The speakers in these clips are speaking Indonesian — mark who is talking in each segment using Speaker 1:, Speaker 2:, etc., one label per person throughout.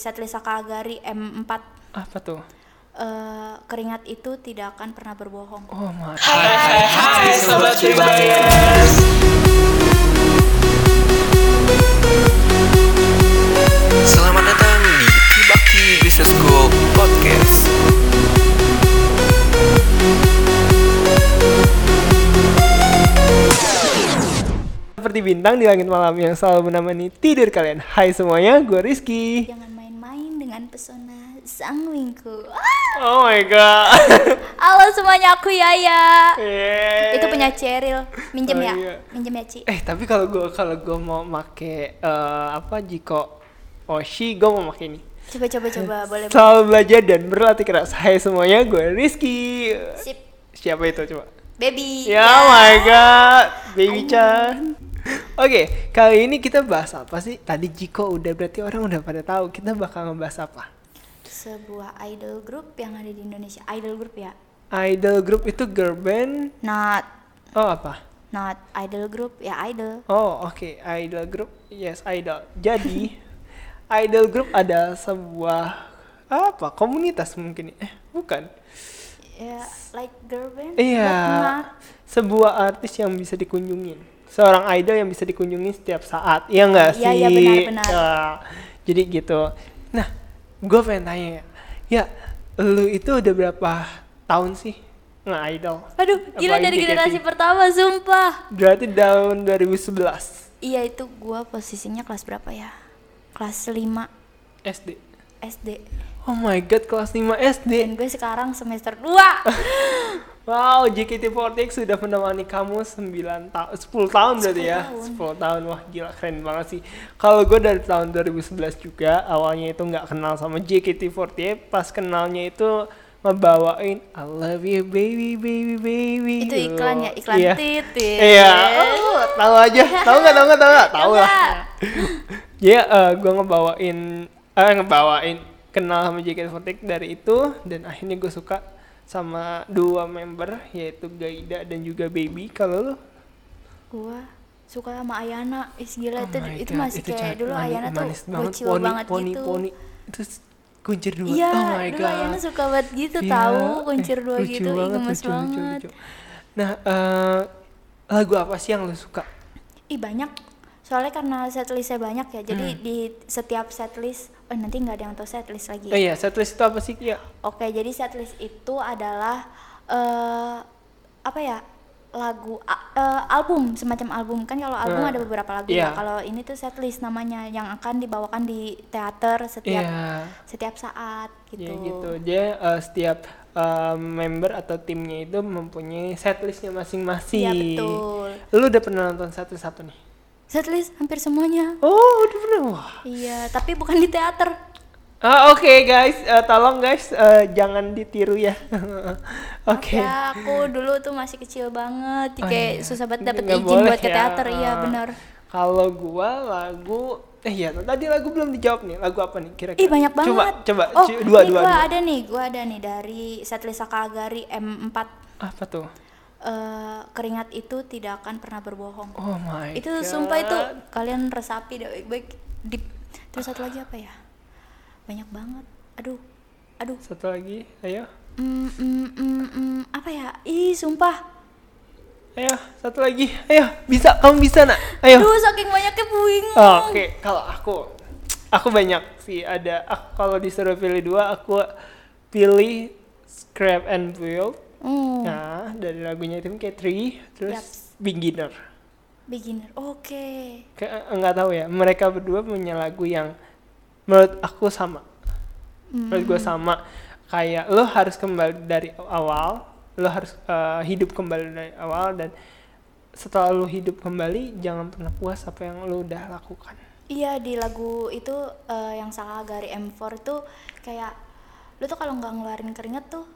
Speaker 1: Setlisa Kagari M4
Speaker 2: Apa tuh?
Speaker 1: Eh, keringat itu tidak akan pernah berbohong.
Speaker 2: Oh my.
Speaker 3: Hai sobat Tribayers. Selamat datang di Kibaki Business School Podcast.
Speaker 2: Seperti bintang di langit malam yang selalu menemani tidur kalian. Hai semuanya, gue Rizky.
Speaker 1: Jangan main-main dengan pesona sang wingku.
Speaker 2: Oh my god.
Speaker 1: Halo semuanya, aku Yaya.
Speaker 2: Yeay.
Speaker 1: Itu punya Cheryl. Minjem
Speaker 2: Eh. Oh,
Speaker 1: ya?
Speaker 2: iya.
Speaker 1: Minjem ya, Ci?
Speaker 2: Eh tapi kalau gue kalau gue mau make eh, apa Jiko Oshi, gue mau make ini.
Speaker 1: Coba coba coba,
Speaker 2: Eh.
Speaker 1: boleh. boleh.
Speaker 2: Selalu belajar dan berlatih keras. Hai semuanya, gue Rizky.
Speaker 1: Sip.
Speaker 2: Siapa itu coba?
Speaker 1: Baby.
Speaker 2: Ya my god, baby Chan. Oke, kali ini kita bahas apa sih? Tadi Jiko udah berarti orang udah pada tahu. Kita bakal ngebahas apa?
Speaker 1: Sebuah idol group yang ada di Indonesia. Idol group ya?
Speaker 2: Idol group itu girl band.
Speaker 1: Not
Speaker 2: Oh apa?
Speaker 1: not idol group ya idol.
Speaker 2: Oh oke, idol group. Yes, idol. Jadi idol group ada sebuah apa? Komunitas mungkin. Eh, bukan.
Speaker 1: Ya, like girl band.
Speaker 2: Iya.
Speaker 1: but not.
Speaker 2: Sebuah artis yang bisa dikunjungin. Seorang idol yang bisa dikunjungi setiap saat. Iya nggak sih?
Speaker 1: Iya, iya, benar, benar.
Speaker 2: Ya, jadi gitu. Nah, gue pengen tanya ya. Ya, lu itu udah berapa tahun sih nge-idol?
Speaker 1: Aduh, gila
Speaker 2: Apalagi gitu.
Speaker 1: dari
Speaker 2: JKT.
Speaker 1: generasi pertama, sumpah.
Speaker 2: Berarti tahun 2011
Speaker 1: Iya itu gua posisinya kelas berapa ya? Kelas 5
Speaker 2: SD.
Speaker 1: SD
Speaker 2: Oh my god, kelas 5 SD.
Speaker 1: Dan gue sekarang semester 2
Speaker 2: Wow, JKT48 sudah menemani kamu 9 tahun 10 tahun berarti
Speaker 1: 10
Speaker 2: ya.
Speaker 1: tahun.
Speaker 2: 10 tahun. Wah, gila keren banget sih. Kalau gue dari tahun 2011 juga awalnya itu nggak kenal sama JKT48, pas kenalnya itu ngebawain I love you baby baby baby.
Speaker 1: Itu
Speaker 2: gitu.
Speaker 1: iklan ya, iklan
Speaker 2: Iya.
Speaker 1: titik
Speaker 2: Iya, oh, tahu aja. Tahu nggak? Tahu nggak? Tahu nggak? Tahu lah.
Speaker 1: Nggak.
Speaker 2: Ya, gue ngebawain, eh ngebawain kenal sama JKT48 dari itu dan akhirnya gue suka sama dua member yaitu Gaida dan juga Baby. Kalau lu
Speaker 1: Gue suka sama Ayana Ih gila
Speaker 2: Oh
Speaker 1: itu,
Speaker 2: my
Speaker 1: itu
Speaker 2: God,
Speaker 1: masih kayak
Speaker 2: cantik
Speaker 1: dulu
Speaker 2: banget,
Speaker 1: Ayana tuh
Speaker 2: manis banget,
Speaker 1: bocil
Speaker 2: poni,
Speaker 1: banget
Speaker 2: poni,
Speaker 1: gitu
Speaker 2: Poni, terus kuncir dua.
Speaker 1: Iya,
Speaker 2: oh my
Speaker 1: dulu
Speaker 2: god.
Speaker 1: Ayana suka banget gitu
Speaker 2: Iya,
Speaker 1: tahu
Speaker 2: eh,
Speaker 1: kuncir dua
Speaker 2: lucu
Speaker 1: gitu, ih gemes
Speaker 2: lucu, lucu,
Speaker 1: banget.
Speaker 2: lucu. Nah, eh, lagu apa sih yang lu suka?
Speaker 1: Ih banyak. Soalnya karena setlistnya banyak ya, jadi
Speaker 2: Hmm.
Speaker 1: di setiap setlist, oh nanti nggak ada yang tahu setlist lagi.
Speaker 2: Oh iya, setlist itu apa sih? Ya,
Speaker 1: Oke, jadi setlist itu adalah eh apa ya? lagu a- eh, album semacam album kan kalau album
Speaker 2: Nah,
Speaker 1: ada beberapa lagu ya
Speaker 2: iya.
Speaker 1: kalau ini tuh setlist namanya yang akan dibawakan di teater setiap
Speaker 2: iya.
Speaker 1: setiap saat gitu.
Speaker 2: Ya gitu. Dia eh, setiap eh, member atau timnya itu mempunyai setlistnya masing-masing.
Speaker 1: Iya, betul.
Speaker 2: Lu udah pernah nonton setlist satu nih?
Speaker 1: Setlist hampir semuanya.
Speaker 2: Oh, udah pernah. Wah.
Speaker 1: Iya, tapi bukan di teater.
Speaker 2: Ah, Oke guys, Eh, tolong guys eh, jangan ditiru ya. Oke.
Speaker 1: Ya, aku dulu tuh masih kecil banget,
Speaker 2: Oh,
Speaker 1: kayak
Speaker 2: iya.
Speaker 1: susah banget dapet
Speaker 2: Nggak
Speaker 1: izin
Speaker 2: boleh
Speaker 1: buat ke
Speaker 2: ya.
Speaker 1: teater. Iya, benar.
Speaker 2: Kalau gua lagu eh iya tadi lagu belum dijawab nih. Lagu apa nih kira-kira?
Speaker 1: Ih banyak banget.
Speaker 2: Coba coba
Speaker 1: Oh,
Speaker 2: cu- dua
Speaker 1: nih
Speaker 2: dua.
Speaker 1: gua
Speaker 2: dua.
Speaker 1: ada nih, gua ada nih dari Setlisa Kagari M4
Speaker 2: Apa tuh?
Speaker 1: eh, keringat itu tidak akan pernah berbohong.
Speaker 2: Oh my
Speaker 1: itu
Speaker 2: God.
Speaker 1: sumpah itu kalian resapi deh baik-baik. Di- Terus satu lagi apa ya? Banyak banget. Aduh. Aduh.
Speaker 2: Satu lagi, ayo.
Speaker 1: Mm, mm, mm, mm, apa ya? Ih, sumpah.
Speaker 2: Ayo, satu lagi. Ayo, bisa. Kamu bisa, Nak. Ayo.
Speaker 1: Aduh, saking banyaknya puing.
Speaker 2: Oh, Oke, kalau aku aku banyak sih ada aku- kalau disuruh pilih dua aku pilih Scrap and Build.
Speaker 1: Hmm,
Speaker 2: Nah, dari lagunya itu kayak Three, terus Beginner.
Speaker 1: beginner. Oke.
Speaker 2: Kayak eh, nggak tahu ya, mereka berdua punya lagu yang menurut aku sama. Menurut
Speaker 1: Hmm.
Speaker 2: gue sama kayak lo harus kembali dari awal, lo harus eh, hidup kembali dari awal dan setelah lo hidup kembali jangan pernah puas apa yang lo udah lakukan.
Speaker 1: Iya di lagu itu eh, yang salah dari M4 tuh kayak lu tuh kalau nggak ngeluarin keringet tuh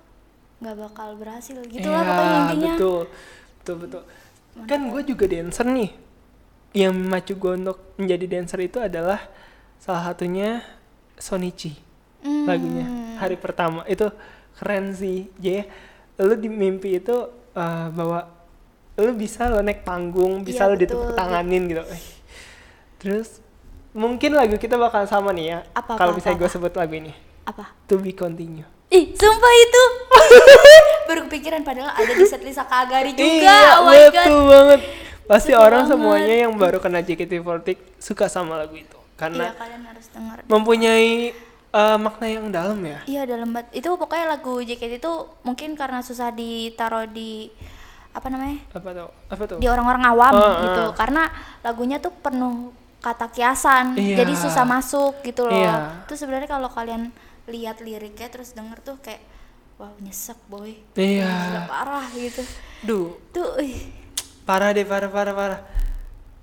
Speaker 1: nggak bakal berhasil gitu lah
Speaker 2: Iya,
Speaker 1: pokoknya intinya.
Speaker 2: betul betul betul kan gue juga dancer nih yang memacu gue untuk menjadi dancer itu adalah salah satunya Sonichi
Speaker 1: Hmm,
Speaker 2: lagunya hari pertama itu keren sih jadi lu di mimpi itu eh, bahwa lu bisa lo naik panggung
Speaker 1: Iya,
Speaker 2: bisa lo
Speaker 1: betul.
Speaker 2: ditepuk tanganin gitu Eh, terus mungkin lagu kita bakal sama nih ya
Speaker 1: Apa,
Speaker 2: kalau
Speaker 1: apa,
Speaker 2: misalnya
Speaker 1: apa,
Speaker 2: gue sebut lagu ini
Speaker 1: Apa?
Speaker 2: to be continue
Speaker 1: Ih, sumpah itu. Baru kepikiran padahal ada di setlist Saka Agari juga.
Speaker 2: iya
Speaker 1: oh my god.
Speaker 2: betul banget pasti
Speaker 1: Betul
Speaker 2: orang
Speaker 1: banget.
Speaker 2: semuanya yang baru kena JKT48 suka sama lagu itu
Speaker 1: Iya,
Speaker 2: karena
Speaker 1: kalian harus denger.
Speaker 2: mempunyai eh, makna yang dalam ya
Speaker 1: Iya, dalam banget. Itu pokoknya lagu JKT itu mungkin karena susah ditaruh di apa namanya?
Speaker 2: apa tuh apa tuh
Speaker 1: Di orang-orang awam
Speaker 2: Ah, ah.
Speaker 1: gitu. Karena lagunya tuh penuh kata kiasan.
Speaker 2: Iya.
Speaker 1: Jadi susah masuk gitu loh.
Speaker 2: Iya.
Speaker 1: Itu sebenarnya kalau kalian lihat liriknya terus denger tuh kayak wow, nyesek boy.
Speaker 2: Iya.
Speaker 1: Gila, parah gitu.
Speaker 2: duh
Speaker 1: Tuh, ih.
Speaker 2: parah deh parah parah parah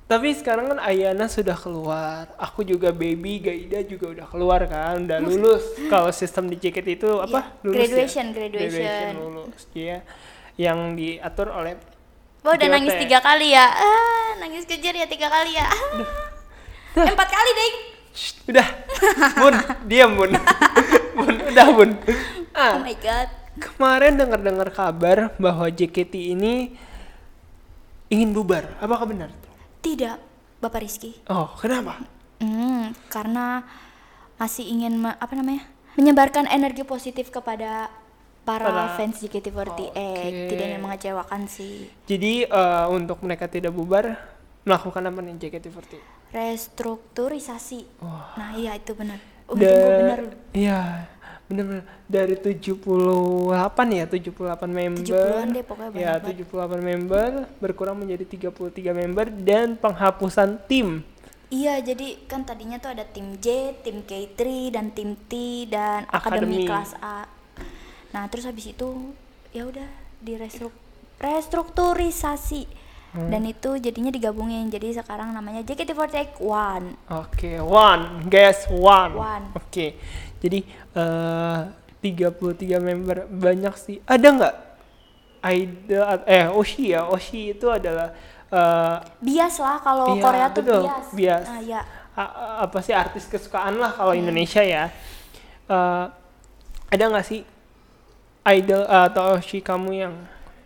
Speaker 2: tapi sekarang kan Ayana sudah keluar aku juga baby Gaida juga udah keluar kan udah lulus kalau sistem di JKT itu apa
Speaker 1: Iya,
Speaker 2: lulus
Speaker 1: graduation,
Speaker 2: ya?
Speaker 1: graduation.
Speaker 2: lulus dia yang diatur oleh
Speaker 1: Wah udah
Speaker 2: JOT.
Speaker 1: nangis tiga kali ya ah, Nangis kejar ya tiga kali ya ah. Eh, Empat kali deh
Speaker 2: Shh, udah bun diam bun bun udah bun
Speaker 1: Oh
Speaker 2: ah
Speaker 1: my god
Speaker 2: kemarin dengar dengar kabar bahwa JKT ini ingin bubar apakah benar
Speaker 1: Tidak Bapak Rizky
Speaker 2: oh kenapa
Speaker 1: hmm, Karena masih ingin me- apa namanya Menyebarkan energi positif kepada para
Speaker 2: Para-
Speaker 1: fans JKT48
Speaker 2: Oke.
Speaker 1: Tidak yang mengecewakan sih
Speaker 2: jadi eh, untuk mereka tidak bubar melakukan apa nih JKT48
Speaker 1: Restrukturisasi Nah iya itu benar Oh
Speaker 2: Da-
Speaker 1: tunggu benar
Speaker 2: Iya, bener-bener dari 78 ya, 78 member.
Speaker 1: 70-an deh, pokoknya banyak
Speaker 2: Ya,
Speaker 1: banget.
Speaker 2: 78 member berkurang menjadi 33 member dan penghapusan tim.
Speaker 1: Iya, jadi kan tadinya tuh ada tim J, tim K3, dan tim T dan akademi
Speaker 2: Akademi.
Speaker 1: kelas A. Nah, terus habis itu ya udah direstruk restrukturisasi.
Speaker 2: Hmm.
Speaker 1: Dan itu jadinya digabungin. Jadi sekarang namanya JKT48 One.
Speaker 2: Oke, one, guess one.
Speaker 1: One.
Speaker 2: Oke. Jadi eh 33 member banyak sih. Ada nggak idol at- eh Oshi ya? Oshi itu adalah eh,
Speaker 1: Bias lah kalau
Speaker 2: Iya,
Speaker 1: Korea tuh
Speaker 2: betul,
Speaker 1: bias.
Speaker 2: bias.
Speaker 1: Nah, ya.
Speaker 2: a- a- apa sih artis kesukaan lah kalau Indonesia ya Eh, ada nggak sih idol atau oshi kamu yang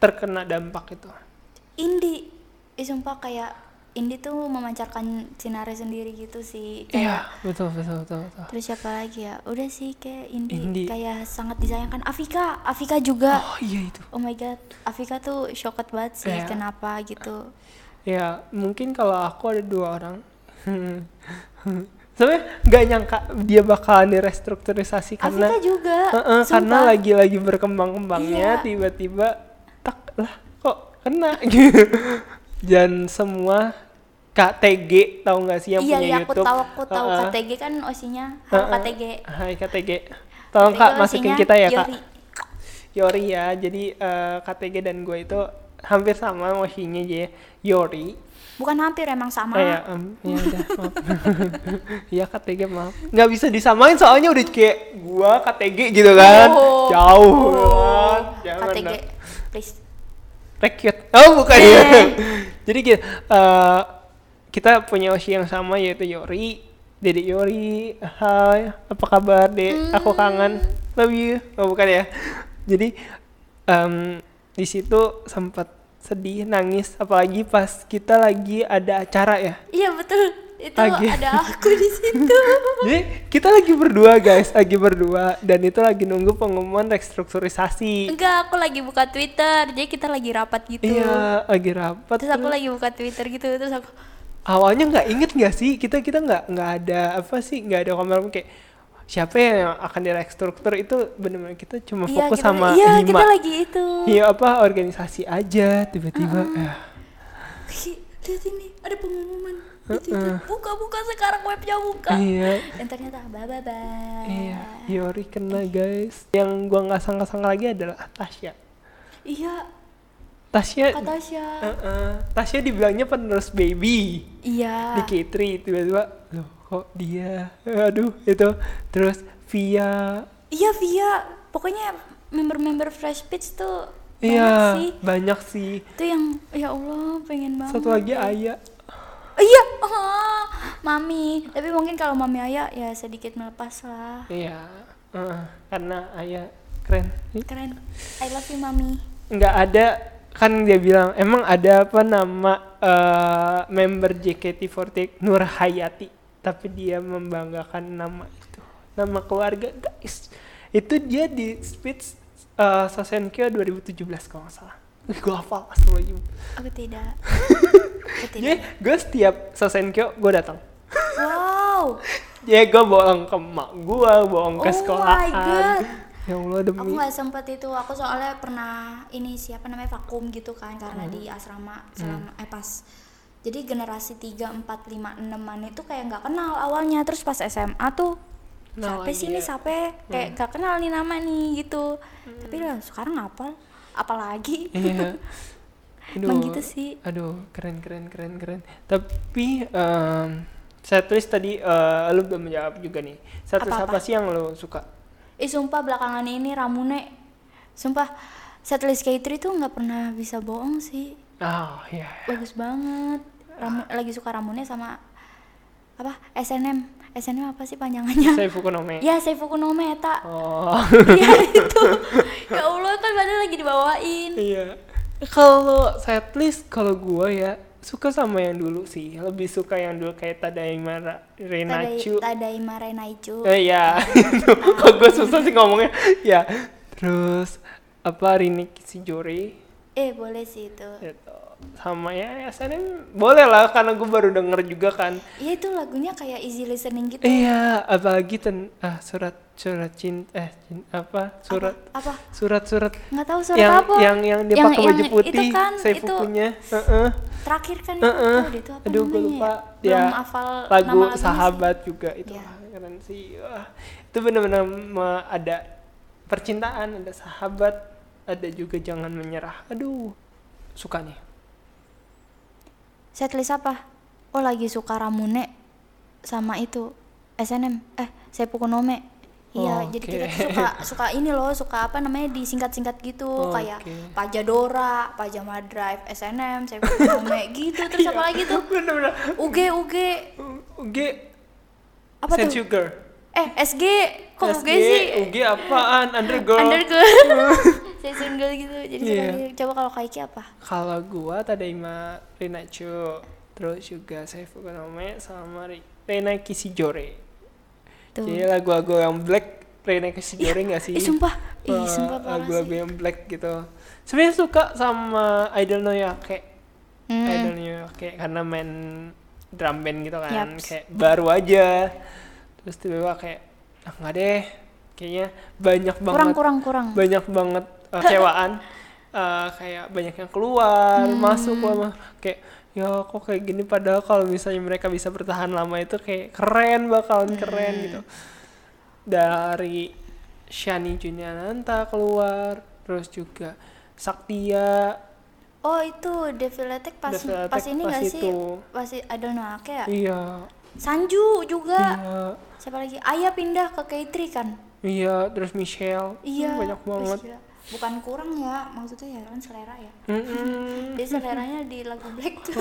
Speaker 2: terkena dampak itu
Speaker 1: Indi, eh, sumpah kayak Indi tuh memancarkan sinarnya sendiri gitu sih. Kayak
Speaker 2: iya betul betul betul, betul.
Speaker 1: Terus siapa lagi ya? Udah sih kayak Indi,
Speaker 2: Iya. Indi.
Speaker 1: kayak sangat disayangkan. Afika, Afika juga.
Speaker 2: oh iya itu
Speaker 1: Oh, my god, Afika tuh shocked banget sih
Speaker 2: Iya.
Speaker 1: kenapa gitu.
Speaker 2: ya mungkin kalau aku ada dua orang sebenarnya nggak nyangka dia bakalan direstrukturisasi karena
Speaker 1: Afika juga.
Speaker 2: Heeh, karena
Speaker 1: sumpah.
Speaker 2: lagi lagi berkembang-kembangnya
Speaker 1: Iya.
Speaker 2: tiba-tiba tak lah kok kena gitu dan semua KTG tahu nggak sih yang
Speaker 1: Iya,
Speaker 2: punya
Speaker 1: iya aku
Speaker 2: YouTube
Speaker 1: tahu, aku tahu
Speaker 2: Heeh,
Speaker 1: KTG kan osinya. Halo
Speaker 2: heeh.
Speaker 1: KTG.
Speaker 2: Hai KTG tolong
Speaker 1: KTG
Speaker 2: kak masukin
Speaker 1: osinya
Speaker 2: kita ya kak
Speaker 1: Yori.
Speaker 2: Yori ya jadi eh, KTG dan gue itu hampir sama mosinya jadi ya. Yori
Speaker 1: Bukan hampir emang sama.
Speaker 2: Eh, ya, em, ya udah maaf ya KTG maaf nggak bisa disamain soalnya udah kayak gua KTG gitu kan
Speaker 1: Oh.
Speaker 2: jauh
Speaker 1: Oh,
Speaker 2: kan. Jangan
Speaker 1: KTG.
Speaker 2: dong.
Speaker 1: Please.
Speaker 2: Rekyut. Oh bukan ya.
Speaker 1: Eh.
Speaker 2: Jadi kita, eh, kita punya usia yang sama yaitu Yori. Dedek Yori, hai, apa kabar dek?
Speaker 1: Hmm.
Speaker 2: Aku kangen, love you. Oh bukan ya. Jadi em, di situ sempat sedih, nangis, apalagi pas kita lagi ada acara ya.
Speaker 1: Iya, betul. Itu
Speaker 2: Lagi.
Speaker 1: ada aku di situ.
Speaker 2: Jadi kita lagi berdua guys, lagi berdua dan itu lagi nunggu pengumuman restrukturisasi.
Speaker 1: Enggak, aku lagi buka Twitter. Jadi kita lagi rapat gitu.
Speaker 2: Iya, lagi rapat.
Speaker 1: Terus aku lagi buka Twitter gitu, terus aku
Speaker 2: awalnya nggak inget nggak sih kita kita nggak nggak ada apa sih nggak ada komen kayak siapa yang akan direkstruktur itu benar-benar kita cuma
Speaker 1: Iya,
Speaker 2: fokus
Speaker 1: kita-
Speaker 2: sama
Speaker 1: iya,
Speaker 2: hima
Speaker 1: kita lagi itu.
Speaker 2: iya apa organisasi aja tiba-tiba
Speaker 1: Ah,
Speaker 2: eh,
Speaker 1: Ih, Lihat ini, ada pengumuman. di Twitter. Buka-buka sekarang webnya buka.
Speaker 2: iya
Speaker 1: Dan ternyata bye-bye.
Speaker 2: iya Yori kena guys yang gua nggak sangka-sangka lagi adalah Tasya
Speaker 1: Iya,
Speaker 2: Tasya
Speaker 1: kata Tasya.
Speaker 2: Heeh. Tasya dibilangnya penerus baby
Speaker 1: Iya.
Speaker 2: di K3 tiba-tiba loh kok dia aduh itu terus Via
Speaker 1: Iya, Via. Pokoknya member-member Fresh Pitch tuh banyak
Speaker 2: Iya,
Speaker 1: sih.
Speaker 2: banyak sih.
Speaker 1: Itu yang ya Allah, pengen banget.
Speaker 2: Satu lagi ya? Aya.
Speaker 1: Iya. ah, mami. Tapi mungkin kalau Mami Aya ya sedikit melepas lah.
Speaker 2: Iya, eh, karena Aya keren.
Speaker 1: Keren. I love you, Mami.
Speaker 2: Nggak ada kan dia bilang emang ada apa nama eh, member JKT48 Nur Hayati. tapi dia membanggakan nama itu nama keluarga guys itu dia di speech uh, Sosenkyo 2017 kalau nggak salah gue hafal astagfirullahaladzim
Speaker 1: Aku tidak. Aku
Speaker 2: jadi
Speaker 1: tidak.
Speaker 2: gue setiap Sosenkyo gue datang
Speaker 1: Wow.
Speaker 2: ya gue bohong ke mak gue bohong
Speaker 1: Oh
Speaker 2: ke
Speaker 1: my
Speaker 2: sekolahan
Speaker 1: God.
Speaker 2: ya Allah
Speaker 1: Aku
Speaker 2: demi
Speaker 1: nggak sempet itu. Aku soalnya pernah ini siapa namanya vakum gitu kan karena di asrama selama eh pas. Jadi generasi 3 4 5 6-an itu kayak nggak kenal awalnya. Terus pas SMA tuh
Speaker 2: Kenal
Speaker 1: siapa sih
Speaker 2: lagi
Speaker 1: nih
Speaker 2: ya.
Speaker 1: siapa kayak nggak kenal nih nama nih gitu. Tapi lah sekarang ngapal apalagi.
Speaker 2: Iya.
Speaker 1: Emang gitu sih.
Speaker 2: Aduh, keren keren keren keren. Tapi em, saya tulis tadi eh, lu belum menjawab juga nih. Satu apa,
Speaker 1: Apa-apa?
Speaker 2: sih yang lu suka?
Speaker 1: Ih sumpah belakangan ini Ramune Sumpah Setlist K3 tuh nggak pernah bisa bohong sih
Speaker 2: Ah, iya.
Speaker 1: Bagus banget Ramu-
Speaker 2: Ah.
Speaker 1: Lagi suka Ramune sama Apa? SNM SNM apa sih panjangannya?
Speaker 2: Saya Fukunome.
Speaker 1: Ya Seifuku no Me, Eta
Speaker 2: Oh,
Speaker 1: Ya itu Ya Allah kan padahal lagi dibawain
Speaker 2: iya. Kalau setlist kalau gua ya suka sama yang dulu sih. Lebih suka yang dulu kayak Tadaimara
Speaker 1: Tadai,
Speaker 2: Renachu.
Speaker 1: Tadaima Renaichu
Speaker 2: Eh ya, kok gue susah sih ngomongnya. Ya, terus apa Rini Kisijori
Speaker 1: Eh boleh sih itu
Speaker 2: gitu. sama ya SNM boleh lah karena gue baru denger juga kan
Speaker 1: Ya itu lagunya kayak easy listening gitu
Speaker 2: iya apalagi ten ah surat surat cinta eh cin- apa surat
Speaker 1: Apa? apa?
Speaker 2: surat surat
Speaker 1: Nggak tahu surat
Speaker 2: yang
Speaker 1: apa
Speaker 2: yang yang dia pakai baju putih
Speaker 1: Itu kan
Speaker 2: saya
Speaker 1: itu
Speaker 2: bukunya Heeh.
Speaker 1: terakhir kan itu,
Speaker 2: Heeh.
Speaker 1: aduh, dia itu apa
Speaker 2: aduh gue
Speaker 1: namanya
Speaker 2: lupa
Speaker 1: ya?
Speaker 2: ya
Speaker 1: Belum hafal
Speaker 2: lagu
Speaker 1: nama lagunya
Speaker 2: sahabat juga itu
Speaker 1: Iya.
Speaker 2: wah, keren sih Wah, itu benar-benar me- ada percintaan ada sahabat ada juga jangan menyerah aduh suka nih
Speaker 1: sih. Setlist apa? Oh lagi suka Ramune sama itu SNM eh Seppuku no Me. Iya, jadi kita tuh
Speaker 2: Oh, Oke.
Speaker 1: suka suka ini loh, suka apa namanya disingkat-singkat gitu kayak
Speaker 2: Oh, Oke.
Speaker 1: Pajadora, Pajama Drive, SNM, Seppuku no Me gitu. Terus
Speaker 2: Iya.
Speaker 1: apa lagi tuh?
Speaker 2: benar-benar
Speaker 1: UG UG
Speaker 2: UG
Speaker 1: apa
Speaker 2: Send
Speaker 1: tuh?
Speaker 2: Sugar
Speaker 1: Eh SG kok UG
Speaker 2: SG,
Speaker 1: sih?
Speaker 2: UG apaan? Undergirl.
Speaker 1: Undergirl. Saya single gitu. Jadi suka
Speaker 2: Iya.
Speaker 1: gitu. coba kalau Kaiki apa?
Speaker 2: Kalau gua Tadaima Renacho, terus juga Seifu Konome sama Ri- Rena Kisijore.
Speaker 1: Tuh. Iya.
Speaker 2: Jadi lagu-lagu yang black Rena Kisijore nggak sih?
Speaker 1: Ih sumpah, ih
Speaker 2: Eh,
Speaker 1: sumpah parah
Speaker 2: lagu-lagu
Speaker 1: sih.
Speaker 2: yang black gitu. Sebenarnya suka sama Idol Noyake.
Speaker 1: Hmm.
Speaker 2: Idol Noyake karena main drum band gitu kan.
Speaker 1: Yaps.
Speaker 2: Kayak baru aja. Terus tiba-tiba kayak ah nggak deh. Kayaknya banyak banget
Speaker 1: Kurang kurang kurang.
Speaker 2: banyak banget uh, cewaan Uh, kayak banyak yang keluar
Speaker 1: Hmm.
Speaker 2: masuk lama kayak ya kok kayak gini padahal kalau misalnya mereka bisa bertahan lama itu kayak keren bakalan
Speaker 1: Hmm.
Speaker 2: keren gitu dari Shani Juniananta keluar terus juga Saktia
Speaker 1: Oh itu Deviletek pas
Speaker 2: Devil Attack
Speaker 1: pas ini
Speaker 2: pas
Speaker 1: nggak sih?
Speaker 2: itu.
Speaker 1: Pas i- Idol Noake ya?
Speaker 2: iya
Speaker 1: Sanju juga.
Speaker 2: iya
Speaker 1: Siapa lagi? Ayah pindah ke K3 kan?
Speaker 2: iya terus Michelle Hmm,
Speaker 1: Iya.
Speaker 2: banyak
Speaker 1: wih,
Speaker 2: banget
Speaker 1: gila. Bukan kurang ya, maksudnya ya kan selera ya.
Speaker 2: Mm-mm.
Speaker 1: Dia seleranya di lagu Black tuh.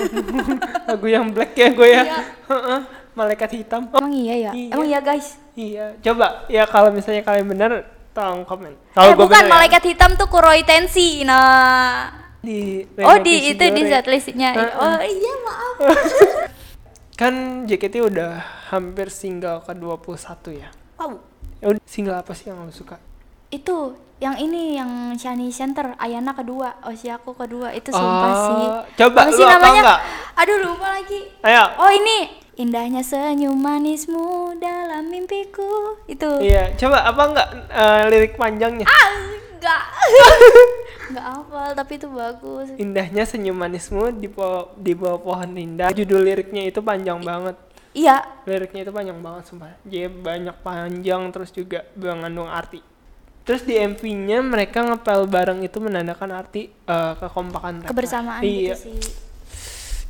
Speaker 2: lagu yang black ya gue ya
Speaker 1: Iya.
Speaker 2: Heeh, malaikat hitam
Speaker 1: Emang iya ya?
Speaker 2: Iya.
Speaker 1: Emang iya guys?
Speaker 2: Iya, coba ya kalau misalnya kalian benar tolong komen.
Speaker 1: Eh
Speaker 2: Kalau gua
Speaker 1: bukan
Speaker 2: bener ya.
Speaker 1: malaikat hitam tuh Kuroi Tensi. Nah.
Speaker 2: di
Speaker 1: Oh
Speaker 2: Renegade
Speaker 1: di itu di
Speaker 2: Shigure.
Speaker 1: setlistnya.
Speaker 2: ya? Heeh.
Speaker 1: Oh iya maaf.
Speaker 2: Kan JKT udah hampir single ke-21 ya.
Speaker 1: Wow.
Speaker 2: Ya udah, single apa sih yang lo suka?
Speaker 1: Itu yang ini yang Shani Center Ayana kedua, Oshiaku kedua itu sumpah
Speaker 2: Ah,
Speaker 1: sih.
Speaker 2: coba,
Speaker 1: Apa
Speaker 2: lu
Speaker 1: sih
Speaker 2: hafal
Speaker 1: namanya?
Speaker 2: nggak?
Speaker 1: Aduh lupa lagi.
Speaker 2: Ayo.
Speaker 1: Oh ini indahnya senyum manismu dalam mimpiku itu.
Speaker 2: Iya, coba apa enggak eh, lirik panjangnya?
Speaker 1: Oh. Ah enggak. enggak hafal tapi itu bagus.
Speaker 2: Indahnya senyum manismu di, po- di bawah pohon indah. Judul liriknya itu panjang banget.
Speaker 1: Iya.
Speaker 2: liriknya itu panjang banget sumpah jadi banyak panjang terus juga mengandung arti terus di MV-nya mereka ngepel bareng itu menandakan arti eh, kekompakan mereka
Speaker 1: Kebersamaan
Speaker 2: iya,
Speaker 1: gitu sih.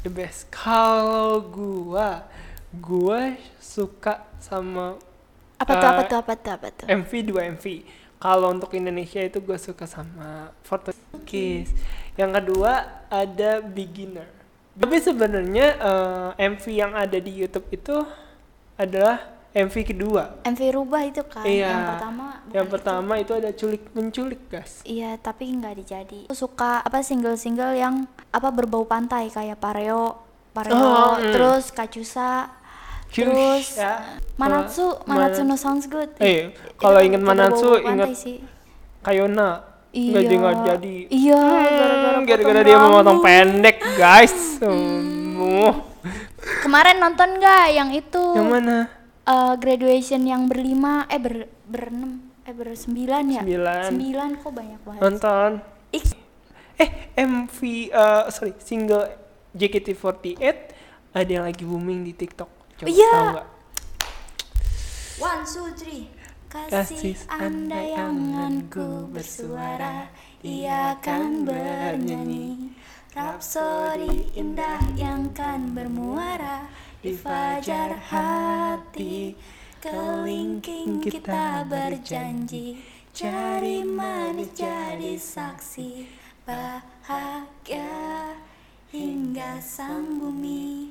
Speaker 2: the best kalau gua gua suka sama
Speaker 1: Apa tuh
Speaker 2: eh,
Speaker 1: apa tuh apa tuh apa tuh?
Speaker 2: MV dua MV kalau untuk Indonesia itu gua suka sama Forte Kiss yang kedua ada Beginner tapi sebenarnya eh, MV yang ada di YouTube itu adalah MV kedua
Speaker 1: MV rubah itu kan.
Speaker 2: Iya.
Speaker 1: Yang pertama bukan
Speaker 2: Yang
Speaker 1: itu.
Speaker 2: pertama itu ada culik menculik, guys.
Speaker 1: Iya, tapi nggak dijadi. Aku suka apa single-single yang apa berbau pantai kayak Pareo, Pareo,
Speaker 2: Oh, mm.
Speaker 1: terus Kacusa,
Speaker 2: Kyusha.
Speaker 1: Terus Manatsu,
Speaker 2: Kalau-
Speaker 1: Manatsu no
Speaker 2: Mana-
Speaker 1: sounds good.
Speaker 2: Ya. Eh,
Speaker 1: Itu
Speaker 2: kalau inget
Speaker 1: tiba-tiba
Speaker 2: Manatsu,
Speaker 1: bawa
Speaker 2: inget
Speaker 1: pantai sih.
Speaker 2: Kayona. Nggak jadi nggak jadi.
Speaker 1: Iya,
Speaker 2: Hmm,
Speaker 1: gara-gara
Speaker 2: gara-gara
Speaker 1: potong
Speaker 2: dia mau motong
Speaker 1: rambut. Hmm.
Speaker 2: pendek, guys. Sembuh.
Speaker 1: Kemarin nonton nggak yang itu?
Speaker 2: Yang mana?
Speaker 1: Eh, graduation yang berlima, eh ber berenam, eh bersembilan ya?
Speaker 2: Sembilan.
Speaker 1: Sembilan kok banyak banget.
Speaker 2: Nonton.
Speaker 1: Ih,
Speaker 2: Eh, MV eh sorry, single JKT48 ada yang lagi booming di TikTok. Coba
Speaker 1: Iya.
Speaker 2: tahu nggak?
Speaker 1: One, two, three.
Speaker 2: Kasih
Speaker 1: Kasih andayanganku bersuara, ia kan bernyanyi. Rapsodi indah yang kan bermuara di fajar hati. Kelingking kita berjanji, cari manis jadi saksi bahagia hingga sang bumi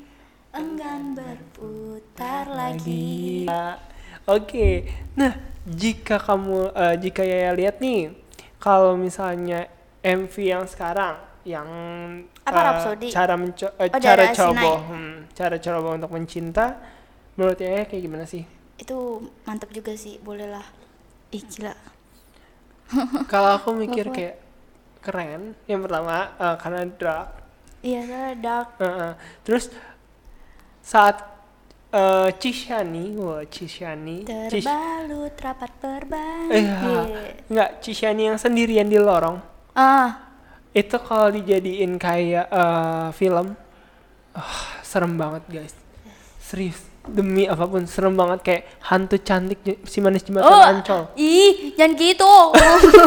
Speaker 1: enggan berputar lagi.
Speaker 2: Ya, Oke. Nah, jika kamu eh, jika Yaya lihat nih, kalau misalnya MV yang sekarang yang
Speaker 1: Apa,
Speaker 2: eh,
Speaker 1: Rhapsody?
Speaker 2: cara menco- eh,
Speaker 1: Oh,
Speaker 2: cara
Speaker 1: Dara
Speaker 2: coba
Speaker 1: Sinai.
Speaker 2: hmm, cara coba untuk mencinta menurut Yaya kayak gimana sih?
Speaker 1: itu mantap juga sih bolehlah ih gila
Speaker 2: kalau aku mikir
Speaker 1: Bapak.
Speaker 2: kayak keren yang pertama eh, karena dark
Speaker 1: iya soalnya dark
Speaker 2: Heeh. terus saat eh, Cishani wah Cishani Cish-
Speaker 1: terbalut rapat perban
Speaker 2: eh,
Speaker 1: Iya.
Speaker 2: nggak Cishani yang sendirian di lorong
Speaker 1: ah
Speaker 2: itu kalau dijadiin kayak eh, film ah, serem banget guys serius demi apapun serem banget kayak hantu cantik j- si manis jembatan
Speaker 1: oh
Speaker 2: ancol
Speaker 1: ih jangan gitu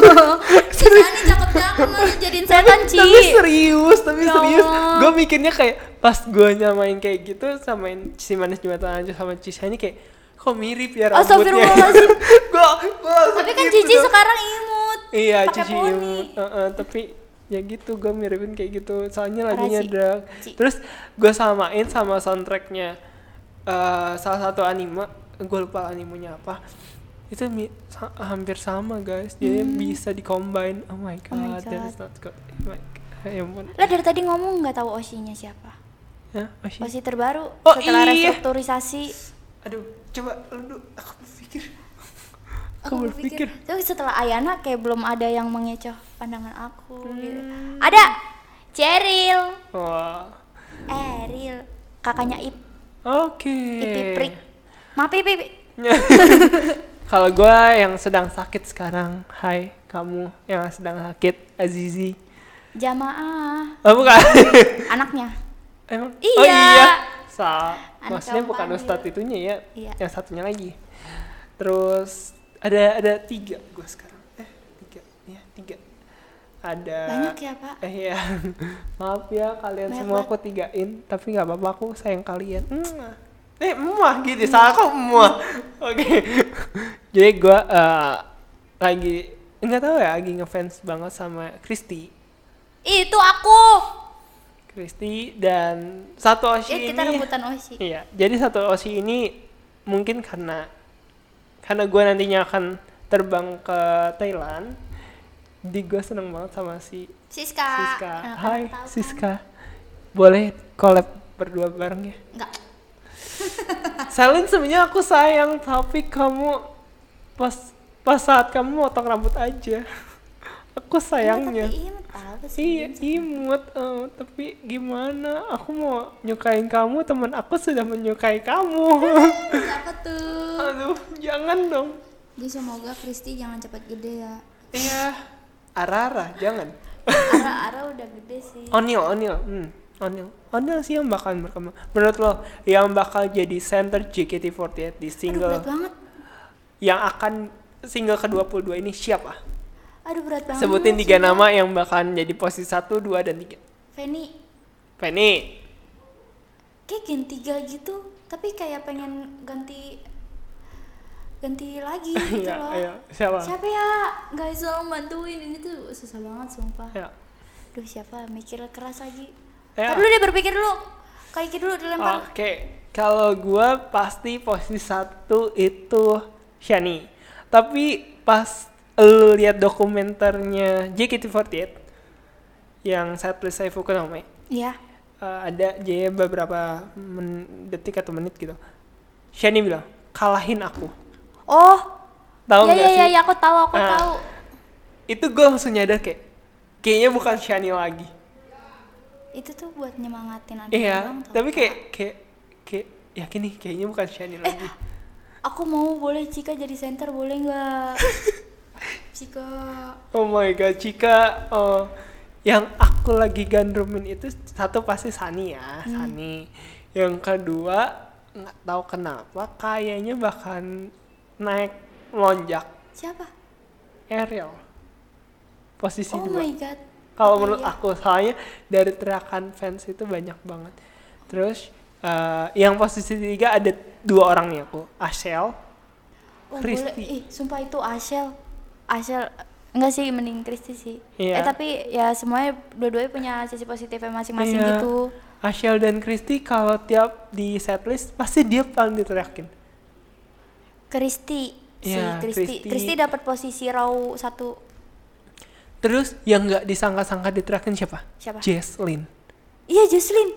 Speaker 1: Sisanya cakep cakep malah jadiin setan Ci
Speaker 2: tapi serius tapi
Speaker 1: iya. Ya
Speaker 2: serius
Speaker 1: Allah.
Speaker 2: gue mikirnya kayak pas gue nyamain kayak gitu samain si manis jembatan aja sama Cisa ini kayak kok mirip ya rambutnya
Speaker 1: Astagfirullahaladzim.
Speaker 2: gue gue
Speaker 1: tapi kan
Speaker 2: gitu.
Speaker 1: Cici sekarang imut
Speaker 2: iya
Speaker 1: pakai
Speaker 2: Cici
Speaker 1: poni.
Speaker 2: imut Heeh, tapi ya gitu gue miripin kayak gitu soalnya
Speaker 1: Parah
Speaker 2: lagunya
Speaker 1: sih,
Speaker 2: drag
Speaker 1: Ci.
Speaker 2: terus gue samain sama soundtracknya eh, salah satu anime gue lupa animenya apa itu mi- sa- hampir sama guys jadi bisa dikombin oh my god,
Speaker 1: Hmm. Oh my
Speaker 2: that
Speaker 1: God.
Speaker 2: is not good oh my god ya ampun
Speaker 1: lah dari tadi ngomong nggak tahu osinya siapa
Speaker 2: Hah? Oh, shit.
Speaker 1: osi terbaru
Speaker 2: Oh,
Speaker 1: setelah
Speaker 2: iya.
Speaker 1: restrukturisasi
Speaker 2: aduh coba lu du- aku berpikir aku
Speaker 1: aku
Speaker 2: berpikir
Speaker 1: berpikir tapi setelah Ayana kayak belum ada yang mengecoh pandangan aku gitu.
Speaker 2: Hmm.
Speaker 1: ada Cheryl
Speaker 2: wah
Speaker 1: Eril kakaknya Ip
Speaker 2: oke
Speaker 1: Ipiprik
Speaker 2: Eh.
Speaker 1: maaf Ip, Ip.
Speaker 2: Kalau gue yang sedang sakit sekarang, hai kamu yang sedang sakit, Azizi.
Speaker 1: jamaah
Speaker 2: Oh bukan.
Speaker 1: anaknya
Speaker 2: Emang?
Speaker 1: Iya.
Speaker 2: Oh iya. Sa.
Speaker 1: Anak
Speaker 2: Maksudnya
Speaker 1: kamu
Speaker 2: bukan
Speaker 1: panggil.
Speaker 2: Ustadz itunya ya.
Speaker 1: Iya.
Speaker 2: Yang satunya lagi. Terus ada ada tiga gue sekarang. Eh tiga, ya tiga. Ada.
Speaker 1: banyak ya pak
Speaker 2: Eh, iya. Maaf ya kalian
Speaker 1: Banyak
Speaker 2: semua
Speaker 1: banget.
Speaker 2: aku tigain, tapi nggak apa-apa aku sayang kalian. Mwah. Eh, emuah gitu, salah kok emuah. Oke. Jadi gua eh, lagi nggak tahu ya, lagi ngefans banget sama Kristi.
Speaker 1: itu aku
Speaker 2: Kristi dan satu Oshi
Speaker 1: ya kita
Speaker 2: ini.
Speaker 1: rebutan Osi
Speaker 2: Iya, jadi satu Oshi ini mungkin karena karena gue nantinya akan terbang ke Thailand. Di gue seneng banget sama si
Speaker 1: Siska
Speaker 2: Siska.
Speaker 1: Nah, kan
Speaker 2: Hai
Speaker 1: tahu kan.
Speaker 2: Siska. Boleh collab berdua bareng ya?
Speaker 1: enggak
Speaker 2: Salin sebenarnya aku sayang tapi kamu pas pas saat kamu motong rambut aja. Aku sayangnya.
Speaker 1: tapi imut tahu sih
Speaker 2: Iya, imut. eh, tapi gimana? Aku mau nyukain kamu, teman aku sudah menyukai kamu.
Speaker 1: siapa tuh
Speaker 2: Aduh, jangan dong.
Speaker 1: jadi semoga Kristi jangan cepat gede ya
Speaker 2: Iya. Arara, jangan.
Speaker 1: Ara Ara udah gede sih
Speaker 2: Onil, Onil, hmm, Onil, Onil sih yang bakal berkembang. Menurut lo, yang bakal jadi center JKT48 di
Speaker 1: aduh berat
Speaker 2: single
Speaker 1: banget
Speaker 2: yang akan single ke-22 ini siapa?
Speaker 1: aduh berat banget
Speaker 2: Sebutin tiga nama yang bakalan jadi posisi 1, 2, dan 3.
Speaker 1: Feni
Speaker 2: Penny,
Speaker 1: kayak gen tiga gitu tapi kayak pengen ganti ganti lagi gitu
Speaker 2: Iya,
Speaker 1: loh
Speaker 2: iya. Siapa?
Speaker 1: siapa ya guys tolong bantuin ini tuh susah banget sumpah
Speaker 2: ya.
Speaker 1: Duh siapa mikir keras lagi
Speaker 2: Ya.
Speaker 1: Ntar dulu deh berpikir dulu kaki dulu dilempar
Speaker 2: Oke, kalau gua pasti posisi 1 itu Shani. Tapi pas lu lihat dokumenternya JKT48 yang setlist Saifuku Nome,
Speaker 1: Iya
Speaker 2: Eh, ada J beberapa men- detik atau menit gitu Shani bilang kalahin aku
Speaker 1: Oh,
Speaker 2: tahu
Speaker 1: ya
Speaker 2: nggak
Speaker 1: ya
Speaker 2: sih
Speaker 1: ya, ya, aku tahu aku
Speaker 2: Ah.
Speaker 1: tahu.
Speaker 2: itu gue langsung nyadar kayak kayaknya bukan Shani lagi
Speaker 1: Itu tuh buat nyemangatin adik
Speaker 2: iya
Speaker 1: abang tau.
Speaker 2: tapi kayak kayak kayak yakin nih kayaknya bukan Shani lagi
Speaker 1: Aku mau boleh Cika jadi center boleh nggak? Cika.
Speaker 2: oh my god Cika oh, yang aku lagi gandrumin itu satu pasti Sani ya Sani yang kedua nggak tahu kenapa kayaknya bahkan naik lonjak
Speaker 1: Siapa?
Speaker 2: Ariel posisi
Speaker 1: Oh
Speaker 2: dua
Speaker 1: my god.
Speaker 2: kalau
Speaker 1: Oh
Speaker 2: menurut
Speaker 1: iya.
Speaker 2: aku soalnya dari teriakan fans itu banyak banget terus eh, yang posisi tiga ada dua orang nih aku Ashel
Speaker 1: Oh,
Speaker 2: Kristi.
Speaker 1: boleh. Ih, sumpah itu Asel. Asel enggak sih mending Kristi sih.
Speaker 2: Iya.
Speaker 1: Eh tapi ya semuanya dua-duanya punya sisi positifnya masing-masing
Speaker 2: Iya.
Speaker 1: gitu.
Speaker 2: Ashel dan Kristi kalau tiap di setlist pasti dia paling diteriakin
Speaker 1: Kristi si
Speaker 2: Iya,
Speaker 1: Kristi.
Speaker 2: Kristi.
Speaker 1: Kristi dapat posisi row satu.
Speaker 2: terus yang nggak disangka-sangka diteriakin siapa?
Speaker 1: Siapa?
Speaker 2: Jesslyn
Speaker 1: Iya, Jocelyn.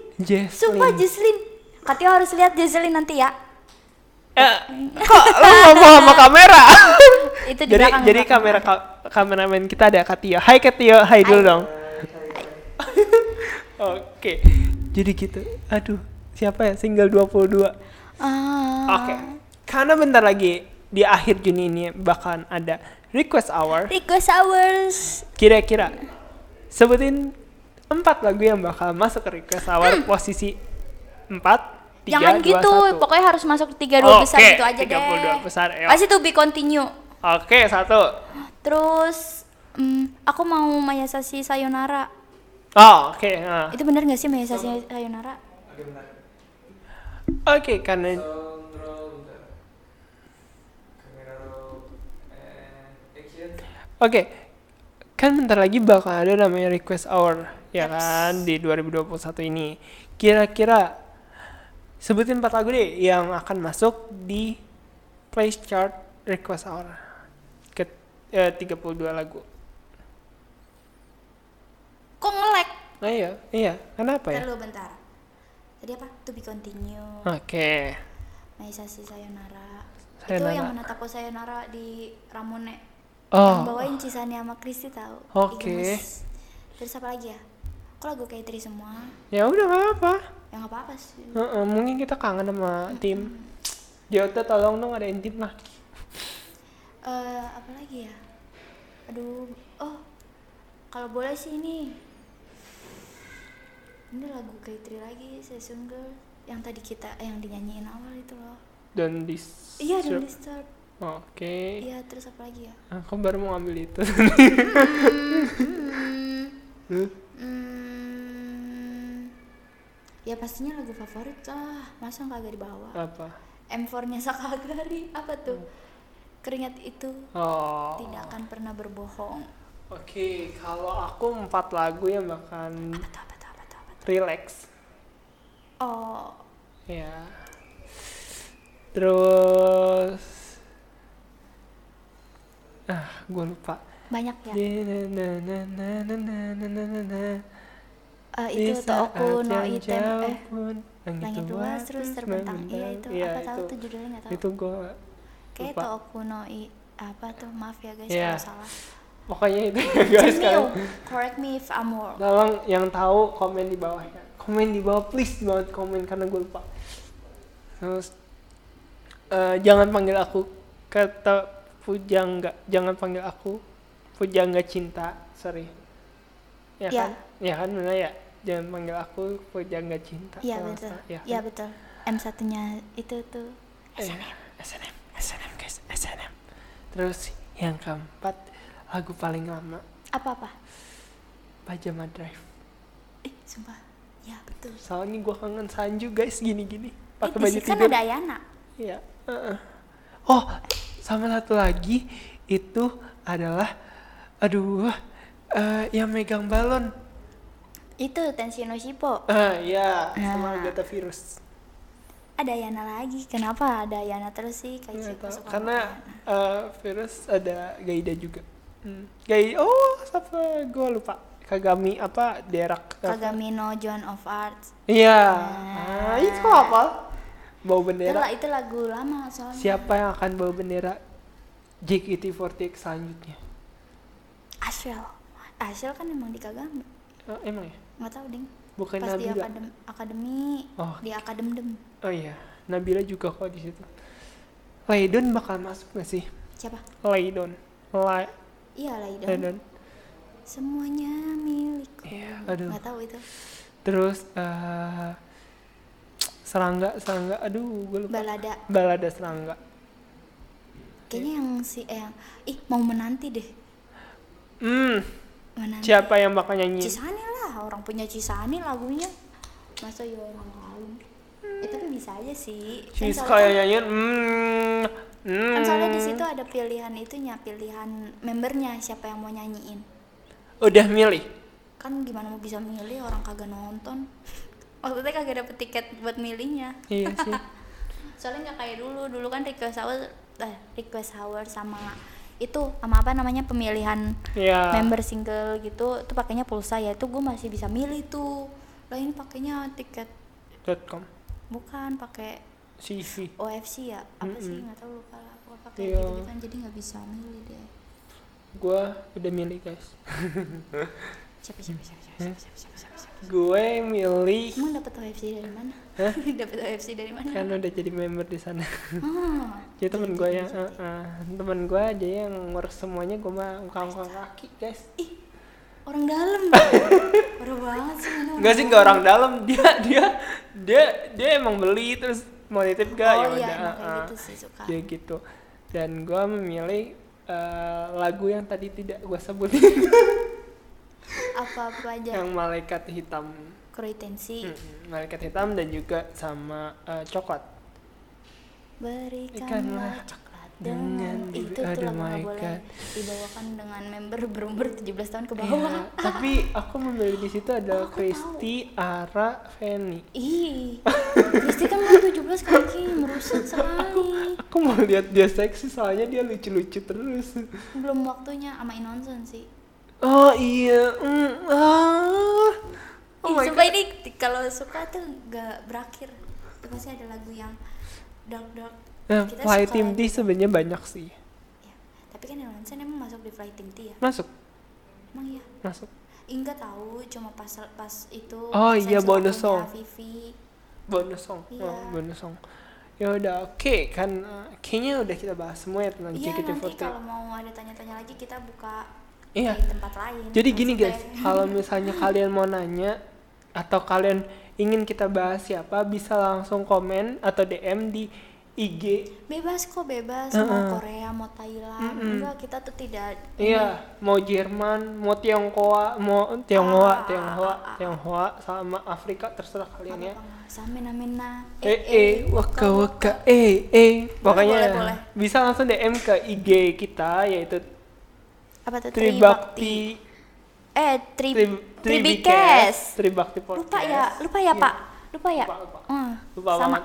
Speaker 1: Sumpah
Speaker 2: Jesslyn
Speaker 1: Jocelyn. Katio harus lihat Jocelyn nanti ya.
Speaker 2: Eh, kok lu ngomong sama kamera?
Speaker 1: Itu di
Speaker 2: jadi
Speaker 1: belakang,
Speaker 2: jadi
Speaker 1: belakang.
Speaker 2: kamera ka- kameramen kita ada Katio. Hai Katio, hai dulu
Speaker 1: Hai.
Speaker 2: dong. Oke. Jadi gitu. Aduh, siapa ya single 22? Oke.
Speaker 1: Ah.
Speaker 2: Karena bentar lagi di akhir Juni ini bahkan ada request hour.
Speaker 1: Request hours.
Speaker 2: Kira-kira sebutin empat lagu yang bakal masuk ke request hour posisi 4 3
Speaker 1: Hmm. Jangan
Speaker 2: 2,
Speaker 1: gitu,
Speaker 2: 1.
Speaker 1: pokoknya harus masuk tiga dua besar
Speaker 2: Oke,
Speaker 1: gitu aja deh.
Speaker 2: 32 besar, ayo.
Speaker 1: Pasti to be continue.
Speaker 2: Oke, satu.
Speaker 1: Terus mm, aku mau Mayasasi Sayonara.
Speaker 2: Oh, oke. nah.
Speaker 1: Itu bener gak sih Mayasasi Sayonara?
Speaker 2: Oke, karena Oke. Kan bentar lagi bakal ada namanya request hour ya kan di 2021 ini. Kira-kira sebutin empat lagu deh yang akan masuk di place chart request hour ke eh, 32 lagu.
Speaker 1: Kok ngelek?
Speaker 2: Nah, iya, iya. Kenapa ya?
Speaker 1: Terlalu bentar. Tadi apa? To be continue.
Speaker 2: Oke.
Speaker 1: Mayasasi Sayonara. Itu
Speaker 2: Sayonara.
Speaker 1: yang menatapku Sayonara di Ramune. Yang
Speaker 2: Oh,
Speaker 1: bawain Cisani sama Kristi tahu.
Speaker 2: Oke.
Speaker 1: Ignis. Terus apa lagi ya? Kok lagu kayak Tri semua?
Speaker 2: ya udah nggak apa-apa.
Speaker 1: Ya nggak apa-apa sih.
Speaker 2: Heeh, mungkin kita kangen sama tim. Jota tolong dong ada tim lah.
Speaker 1: Eh, apa lagi ya? Aduh, oh. Kalau boleh sih ini. Ini lagu kayak Tri lagi, Session Girl yang tadi kita eh, yang dinyanyiin awal itu loh.
Speaker 2: Dan dis.
Speaker 1: Iya, dan
Speaker 2: Oke.
Speaker 1: Disturb. Iya, terus apa lagi ya?
Speaker 2: Aku baru mau ambil itu.
Speaker 1: Hmm.
Speaker 2: Hah?
Speaker 1: hmm. Ya pastinya lagu favorit lah. Masa kagak dibawa?
Speaker 2: Apa?
Speaker 1: M4-nya Sakagari apa tuh? Keringat itu
Speaker 2: Oh.
Speaker 1: tidak akan pernah berbohong.
Speaker 2: Oke, kalau aku empat lagu yang bahkan
Speaker 1: Apa tuh, apa tuh, apa tuh, apa tuh?
Speaker 2: relax.
Speaker 1: Oh,
Speaker 2: Ya. Terus ah, gue lupa.
Speaker 1: banyak ya.
Speaker 2: Itu
Speaker 1: Eh, itu tuh aku no item eh langit luas
Speaker 2: luas
Speaker 1: terus terbentang. Iya itu apa tahu tuh judulnya nggak tahu.
Speaker 2: Itu gue
Speaker 1: Kayak
Speaker 2: lupa.
Speaker 1: tuh aku no i apa tuh maaf ya guys
Speaker 2: Iya.
Speaker 1: kalau salah.
Speaker 2: pokoknya itu guys
Speaker 1: Jamil,
Speaker 2: kan.
Speaker 1: correct me if I'm wrong.
Speaker 2: Tolong yang tahu komen di bawah ya. Komen di bawah please banget komen karena gue lupa. Terus eh, jangan panggil aku kata pujangga, jangan panggil aku pujangga cinta, sorry. Ya
Speaker 1: Iya.
Speaker 2: kan? Ya kan benar ya. Jangan panggil aku pujangga cinta.
Speaker 1: Iya betul.
Speaker 2: kalau nggak salah,
Speaker 1: Iya
Speaker 2: Ya, kan?
Speaker 1: betul. M satunya itu tuh
Speaker 2: SNM, SNM, SNM guys, SNM. Terus yang keempat lagu paling lama
Speaker 1: apa apa?
Speaker 2: Pajama Drive.
Speaker 1: Eh sumpah. Ya betul.
Speaker 2: Soalnya gue kangen Sanju guys gini-gini
Speaker 1: Eh,
Speaker 2: pakai baju
Speaker 1: di kan
Speaker 2: tidur.
Speaker 1: ada Ayana.
Speaker 2: Iya. heeh. Oh, sama satu lagi itu adalah aduh eh, yang megang balon.
Speaker 1: Itu Tensino Shippo.
Speaker 2: Ah, ya, sama
Speaker 1: Nah.
Speaker 2: data virus.
Speaker 1: Ada Yana lagi. Kenapa ada Yana terus sih? Kayak
Speaker 2: Nggak
Speaker 1: Shippo
Speaker 2: Iya, tahu.
Speaker 1: suka
Speaker 2: Karena
Speaker 1: sama Yana.
Speaker 2: eh, virus ada Gaida juga. Hmm. Gai, oh siapa? Gue lupa. Kagami apa? Derak. apa?
Speaker 1: Kagami no John of Arts.
Speaker 2: Iya.
Speaker 1: Nah.
Speaker 2: Ah, itu apa?
Speaker 1: Itulah,
Speaker 2: bawa bendera
Speaker 1: itu lagu lama soalnya.
Speaker 2: siapa yang akan bawa bendera JKT48 selanjutnya
Speaker 1: Ashel. Ashel kan emang di Kagame.
Speaker 2: Oh, emang ya
Speaker 1: Nggak tahu, Ding.
Speaker 2: bukan
Speaker 1: Pas di
Speaker 2: Nabila
Speaker 1: akadem, akademi,
Speaker 2: Oh.
Speaker 1: di akadem-dem.
Speaker 2: oh iya Nabila juga kok di situ Laidon bakal masuk gak sih
Speaker 1: Siapa?
Speaker 2: Laidon La
Speaker 1: Iya, Laidon.
Speaker 2: Laidon
Speaker 1: Semuanya milikku.
Speaker 2: Iya, aduh.
Speaker 1: Nggak tahu itu.
Speaker 2: terus eh serangga serangga aduh gue lupa
Speaker 1: Balada.
Speaker 2: balada serangga
Speaker 1: Kayaknya yang si eh yang, ih mau menanti deh.
Speaker 2: hmm
Speaker 1: Menanti.
Speaker 2: siapa yang bakal nyanyi
Speaker 1: Cisani lah, orang punya Cisani lagunya. Masa ya orang lain. Eh tapi bisa aja sih. Kan
Speaker 2: Cis
Speaker 1: soalnya-
Speaker 2: kayak nyanyiin hmm hmm
Speaker 1: Kan soalnya di situ ada pilihan itunya, pilihan membernya siapa yang mau nyanyiin.
Speaker 2: udah milih
Speaker 1: Kan gimana mau bisa milih orang kagak nonton. Maksudnya kagak dapet tiket buat milihnya.
Speaker 2: iya sih
Speaker 1: Soalnya nggak kayak dulu, dulu kan request hour, eh, request hour sama itu sama apa namanya pemilihan
Speaker 2: ya
Speaker 1: member single gitu itu pakainya pulsa ya itu gue masih bisa milih tuh lah ini pakainya tiket
Speaker 2: .com
Speaker 1: bukan pakai
Speaker 2: CV
Speaker 1: OFC ya apa sih nggak tahu lupa lah gue pakai
Speaker 2: Iya.
Speaker 1: gitu kan jadi nggak bisa milih deh
Speaker 2: gue udah milih guys
Speaker 1: siapa siapa siapa siapa siapa siapa siapa, siapa, siapa.
Speaker 2: gue milih
Speaker 1: emang dapat OFC dari mana
Speaker 2: Hah?
Speaker 1: dapat OFC dari mana
Speaker 2: kan udah jadi member di sana
Speaker 1: Ah,
Speaker 2: jadi temen
Speaker 1: jadi
Speaker 2: gue yang
Speaker 1: maksudnya.
Speaker 2: eh, eh, temen gue aja yang ngurus semuanya gue mah ngkang kaki guys
Speaker 1: ih orang dalam baru banget sih mana
Speaker 2: Enggak sih enggak orang dalam dia dia dia dia emang beli terus mau nitip gak
Speaker 1: oh
Speaker 2: ya
Speaker 1: iya
Speaker 2: udah
Speaker 1: emang kayak
Speaker 2: ah,
Speaker 1: gitu sih suka
Speaker 2: dia gitu dan gue memilih eh, lagu yang tadi tidak gue sebutin
Speaker 1: Iya. apa apa aja
Speaker 2: yang malaikat hitam
Speaker 1: kreitensi
Speaker 2: Mm, malaikat hitam dan juga sama eh, coklat Ikanlah
Speaker 1: Berikanlah coklat dengan
Speaker 2: dengan
Speaker 1: itu
Speaker 2: ibu-
Speaker 1: tuh
Speaker 2: aduh
Speaker 1: lagu
Speaker 2: my
Speaker 1: nggak boleh
Speaker 2: God.
Speaker 1: dibawakan dengan member berumur 17 tahun ke
Speaker 2: Iya,
Speaker 1: bawah.
Speaker 2: tapi aku memilih di situ
Speaker 1: Oh,
Speaker 2: adalah
Speaker 1: aku
Speaker 2: Kristi, Ara, Feni.
Speaker 1: Ih. Kristi kan baru 17 kaki merusak sekali.
Speaker 2: Aku mau lihat dia seksi soalnya dia lucu-lucu terus.
Speaker 1: Belum waktunya sama Inonsen sih.
Speaker 2: Oh iya. mm, ah. Oh
Speaker 1: Ih,
Speaker 2: my
Speaker 1: sumpah
Speaker 2: god.
Speaker 1: ini t- kalau suka tuh gak berakhir. Itu Pasti ada lagu yang dark dark.
Speaker 2: Nah,
Speaker 1: Kita
Speaker 2: Fly
Speaker 1: suka
Speaker 2: Team
Speaker 1: lagu-
Speaker 2: D sebenarnya banyak sih.
Speaker 1: Ya. Tapi kan Inonsen emang masuk di Flight Team T ya.
Speaker 2: Masuk,
Speaker 1: Emang iya.
Speaker 2: masuk.
Speaker 1: Enggak tahu cuma pas pas itu
Speaker 2: Oh,
Speaker 1: saya
Speaker 2: iya,
Speaker 1: suka
Speaker 2: bonus
Speaker 1: punya
Speaker 2: song.
Speaker 1: Vivi.
Speaker 2: Bonus song.
Speaker 1: ya. Iya.
Speaker 2: Oh, bonus song. Ya udah oke kan eh, kayaknya udah kita bahas semua ya tentang
Speaker 1: Iya nanti
Speaker 2: JKT48.
Speaker 1: kalau mau ada tanya-tanya lagi kita buka
Speaker 2: Iya.
Speaker 1: di tempat lain.
Speaker 2: Jadi gini
Speaker 1: Maksudnya-
Speaker 2: guys, kalau misalnya kalian mau nanya atau kalian ingin kita bahas siapa, bisa langsung komen atau DM di IG.
Speaker 1: bebas kok bebas
Speaker 2: Heeh.
Speaker 1: mau Korea mau Thailand
Speaker 2: Mm-mm.
Speaker 1: enggak kita tuh tidak
Speaker 2: Iya, mau Jerman, mau Tionghoa, mau Tionghoa,
Speaker 1: Ah,
Speaker 2: Tionghoa,
Speaker 1: ah, ah.
Speaker 2: Tionghoa, sama Afrika terserah
Speaker 1: ini,
Speaker 2: kalian ya.
Speaker 1: apa-apa. samina mina
Speaker 2: Eh eh, waka waka, eh eh. Pokoknya
Speaker 1: boleh, boleh.
Speaker 2: bisa langsung DM ke IG kita yaitu
Speaker 1: apa tuh Tribakti
Speaker 2: Tribakti
Speaker 1: eh tri
Speaker 2: Tri-
Speaker 1: Tribikes
Speaker 2: Tribakti Podcast.
Speaker 1: lupa ya lupa ya
Speaker 2: Iya.
Speaker 1: pak lupa ya
Speaker 2: Lupa, lupa.
Speaker 1: Hmm,
Speaker 2: lupa
Speaker 1: sama
Speaker 2: banget.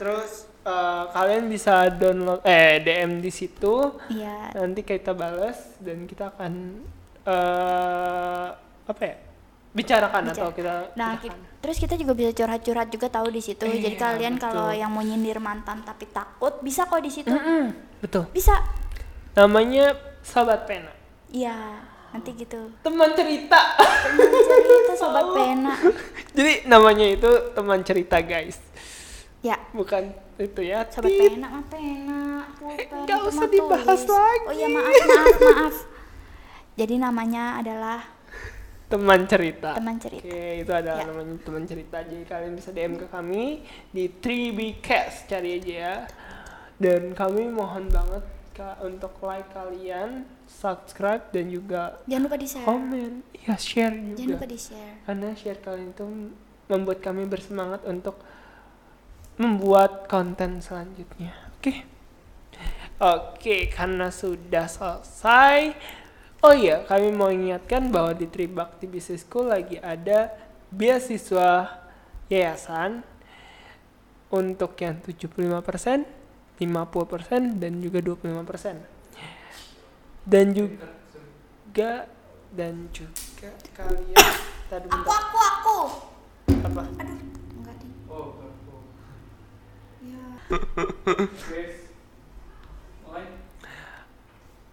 Speaker 2: Terus eh, kalian bisa download eh DM di situ,
Speaker 1: iya
Speaker 2: nanti kita balas dan kita akan eh apa ya? Bicarakan atau kita
Speaker 1: Nah,
Speaker 2: kita
Speaker 1: ki- terus kita juga bisa curhat-curhat juga tahu di situ. Jadi
Speaker 2: Iya,
Speaker 1: kalian kalau
Speaker 2: betul.
Speaker 1: yang mau nyindir mantan tapi takut, bisa kok di situ.
Speaker 2: Mm-mm, betul.
Speaker 1: Bisa.
Speaker 2: Hmm. Namanya sahabat pena.
Speaker 1: Iya, nanti gitu.
Speaker 2: Teman cerita.
Speaker 1: Cerita sobat
Speaker 2: Oh,
Speaker 1: pena.
Speaker 2: Jadi namanya itu teman cerita, guys.
Speaker 1: Ya,
Speaker 2: Bukan itu ya.
Speaker 1: sobat
Speaker 2: tit.
Speaker 1: pena mah pena. pulpen,
Speaker 2: Nggak usah
Speaker 1: tematulis.
Speaker 2: dibahas
Speaker 1: Oh
Speaker 2: lagi.
Speaker 1: iya, maaf, maaf, maaf. Jadi namanya adalah
Speaker 2: teman cerita.
Speaker 1: Teman cerita.
Speaker 2: Oke, itu adalah
Speaker 1: Ya.
Speaker 2: namanya teman cerita. Jadi kalian bisa DM ke kami di 3bcast cari aja ya. Dan kami mohon banget Kak untuk like kalian, subscribe dan juga
Speaker 1: jangan lupa di-share.
Speaker 2: komen. Ya share
Speaker 1: jangan lupa
Speaker 2: juga.
Speaker 1: di-share.
Speaker 2: Karena share kalian itu membuat kami bersemangat untuk membuat konten selanjutnya. Oke. Oke, karena sudah selesai. Oh iya, kami mau ingatkan bahwa di Tribakti Business School lagi ada beasiswa yayasan untuk yang 75%, 50% dan juga 25%. Dan juga dan juga kalian tadi
Speaker 1: Aku, aku, aku.
Speaker 2: apa?
Speaker 1: Aduh, enggak deh.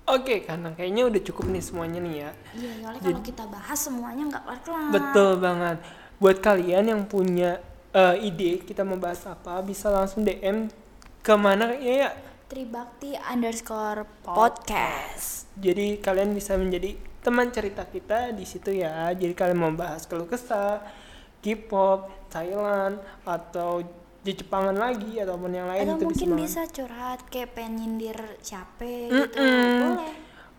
Speaker 2: Oke, karena kayaknya udah cukup nih semuanya nih ya.
Speaker 1: Iya, soalnya
Speaker 2: Jadi-
Speaker 1: kalau kita bahas semuanya nggak kelar-kelar.
Speaker 2: Betul banget. Buat kalian yang punya eh, ide kita mau bahas apa, bisa langsung DM kemana ya ya.
Speaker 1: Tribakti underscore podcast.
Speaker 2: Jadi kalian bisa menjadi teman cerita kita di situ ya. Jadi kalian mau bahas keluh kesah, K-pop, Thailand atau Jepangan lagi ataupun yang lain
Speaker 1: Atau
Speaker 2: itu
Speaker 1: mungkin
Speaker 2: banget.
Speaker 1: bisa curhat kayak pengen nyindir capek gitu.
Speaker 2: Mm-mm.
Speaker 1: Boleh.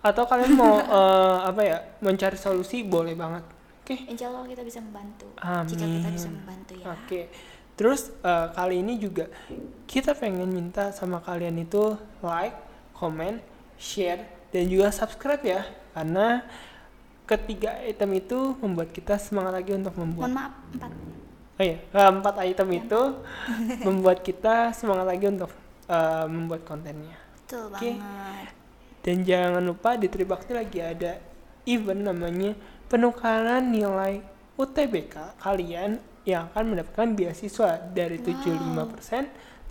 Speaker 2: Atau kalian mau eh, apa ya mencari solusi boleh banget. Oke.
Speaker 1: Insya Allah kita bisa membantu. Jika kita
Speaker 2: Amin.
Speaker 1: bisa membantu ya.
Speaker 2: Oke. Terus eh, kali ini juga kita pengen minta sama kalian itu like, comment, share dan juga subscribe ya. Karena ketiga item itu membuat kita semangat lagi untuk
Speaker 1: Mohon
Speaker 2: membuat.
Speaker 1: maaf empat.
Speaker 2: Oh iya, keempat item itu membuat kita semangat lagi untuk eh, membuat kontennya.
Speaker 1: Betul
Speaker 2: Oke.
Speaker 1: banget.
Speaker 2: Dan jangan lupa di Tribakti lagi ada event namanya penukaran nilai UTBK kalian yang akan mendapatkan beasiswa dari 75%, 50%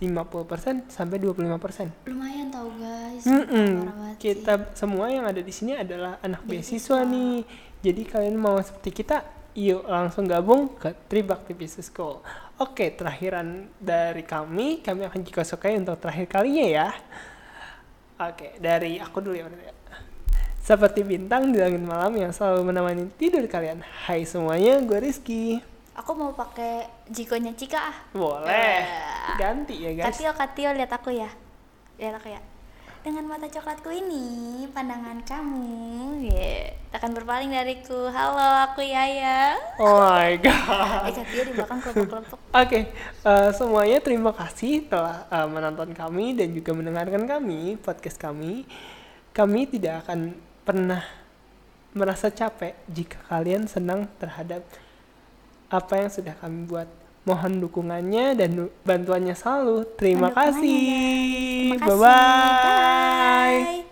Speaker 2: sampai 25%.
Speaker 1: Lumayan tau guys. Parah
Speaker 2: Mm-mm.
Speaker 1: banget sih. Iya,
Speaker 2: Kita semua yang ada di sini adalah anak
Speaker 1: Beasiswa.
Speaker 2: beasiswa nih. Jadi kalian mau seperti kita, yuk langsung gabung ke Tribakti Business School. Oke, terakhiran dari kami, kami akan jika sukai untuk terakhir kalinya ya. Oke, dari aku dulu ya. berarti ya. Seperti bintang di langit malam yang selalu menemani tidur kalian. Hai semuanya, gue Rizky.
Speaker 1: Aku mau pakai jikonya Cika ah.
Speaker 2: Boleh.
Speaker 1: Eh.
Speaker 2: Ganti ya guys.
Speaker 1: Katio, Katio, lihat aku ya. Lihat aku ya. Dengan mata coklatku ini, pandangan kamu yeah, akan berpaling dariku. Halo, aku Yaya.
Speaker 2: Oh my
Speaker 1: Eh,
Speaker 2: god.
Speaker 1: Katio di belakang kelompok-kelompok.
Speaker 2: Oke, eh, semuanya terima kasih telah eh, menonton kami dan juga mendengarkan kami, podcast kami. Kami tidak akan pernah merasa capek jika kalian senang terhadap apa yang sudah kami buat. Mohon dukungannya dan du- bantuannya selalu. Terima
Speaker 1: Mohon dukungannya,
Speaker 2: kasih.
Speaker 1: Terima kasih.
Speaker 2: Bye-bye.
Speaker 1: Bye.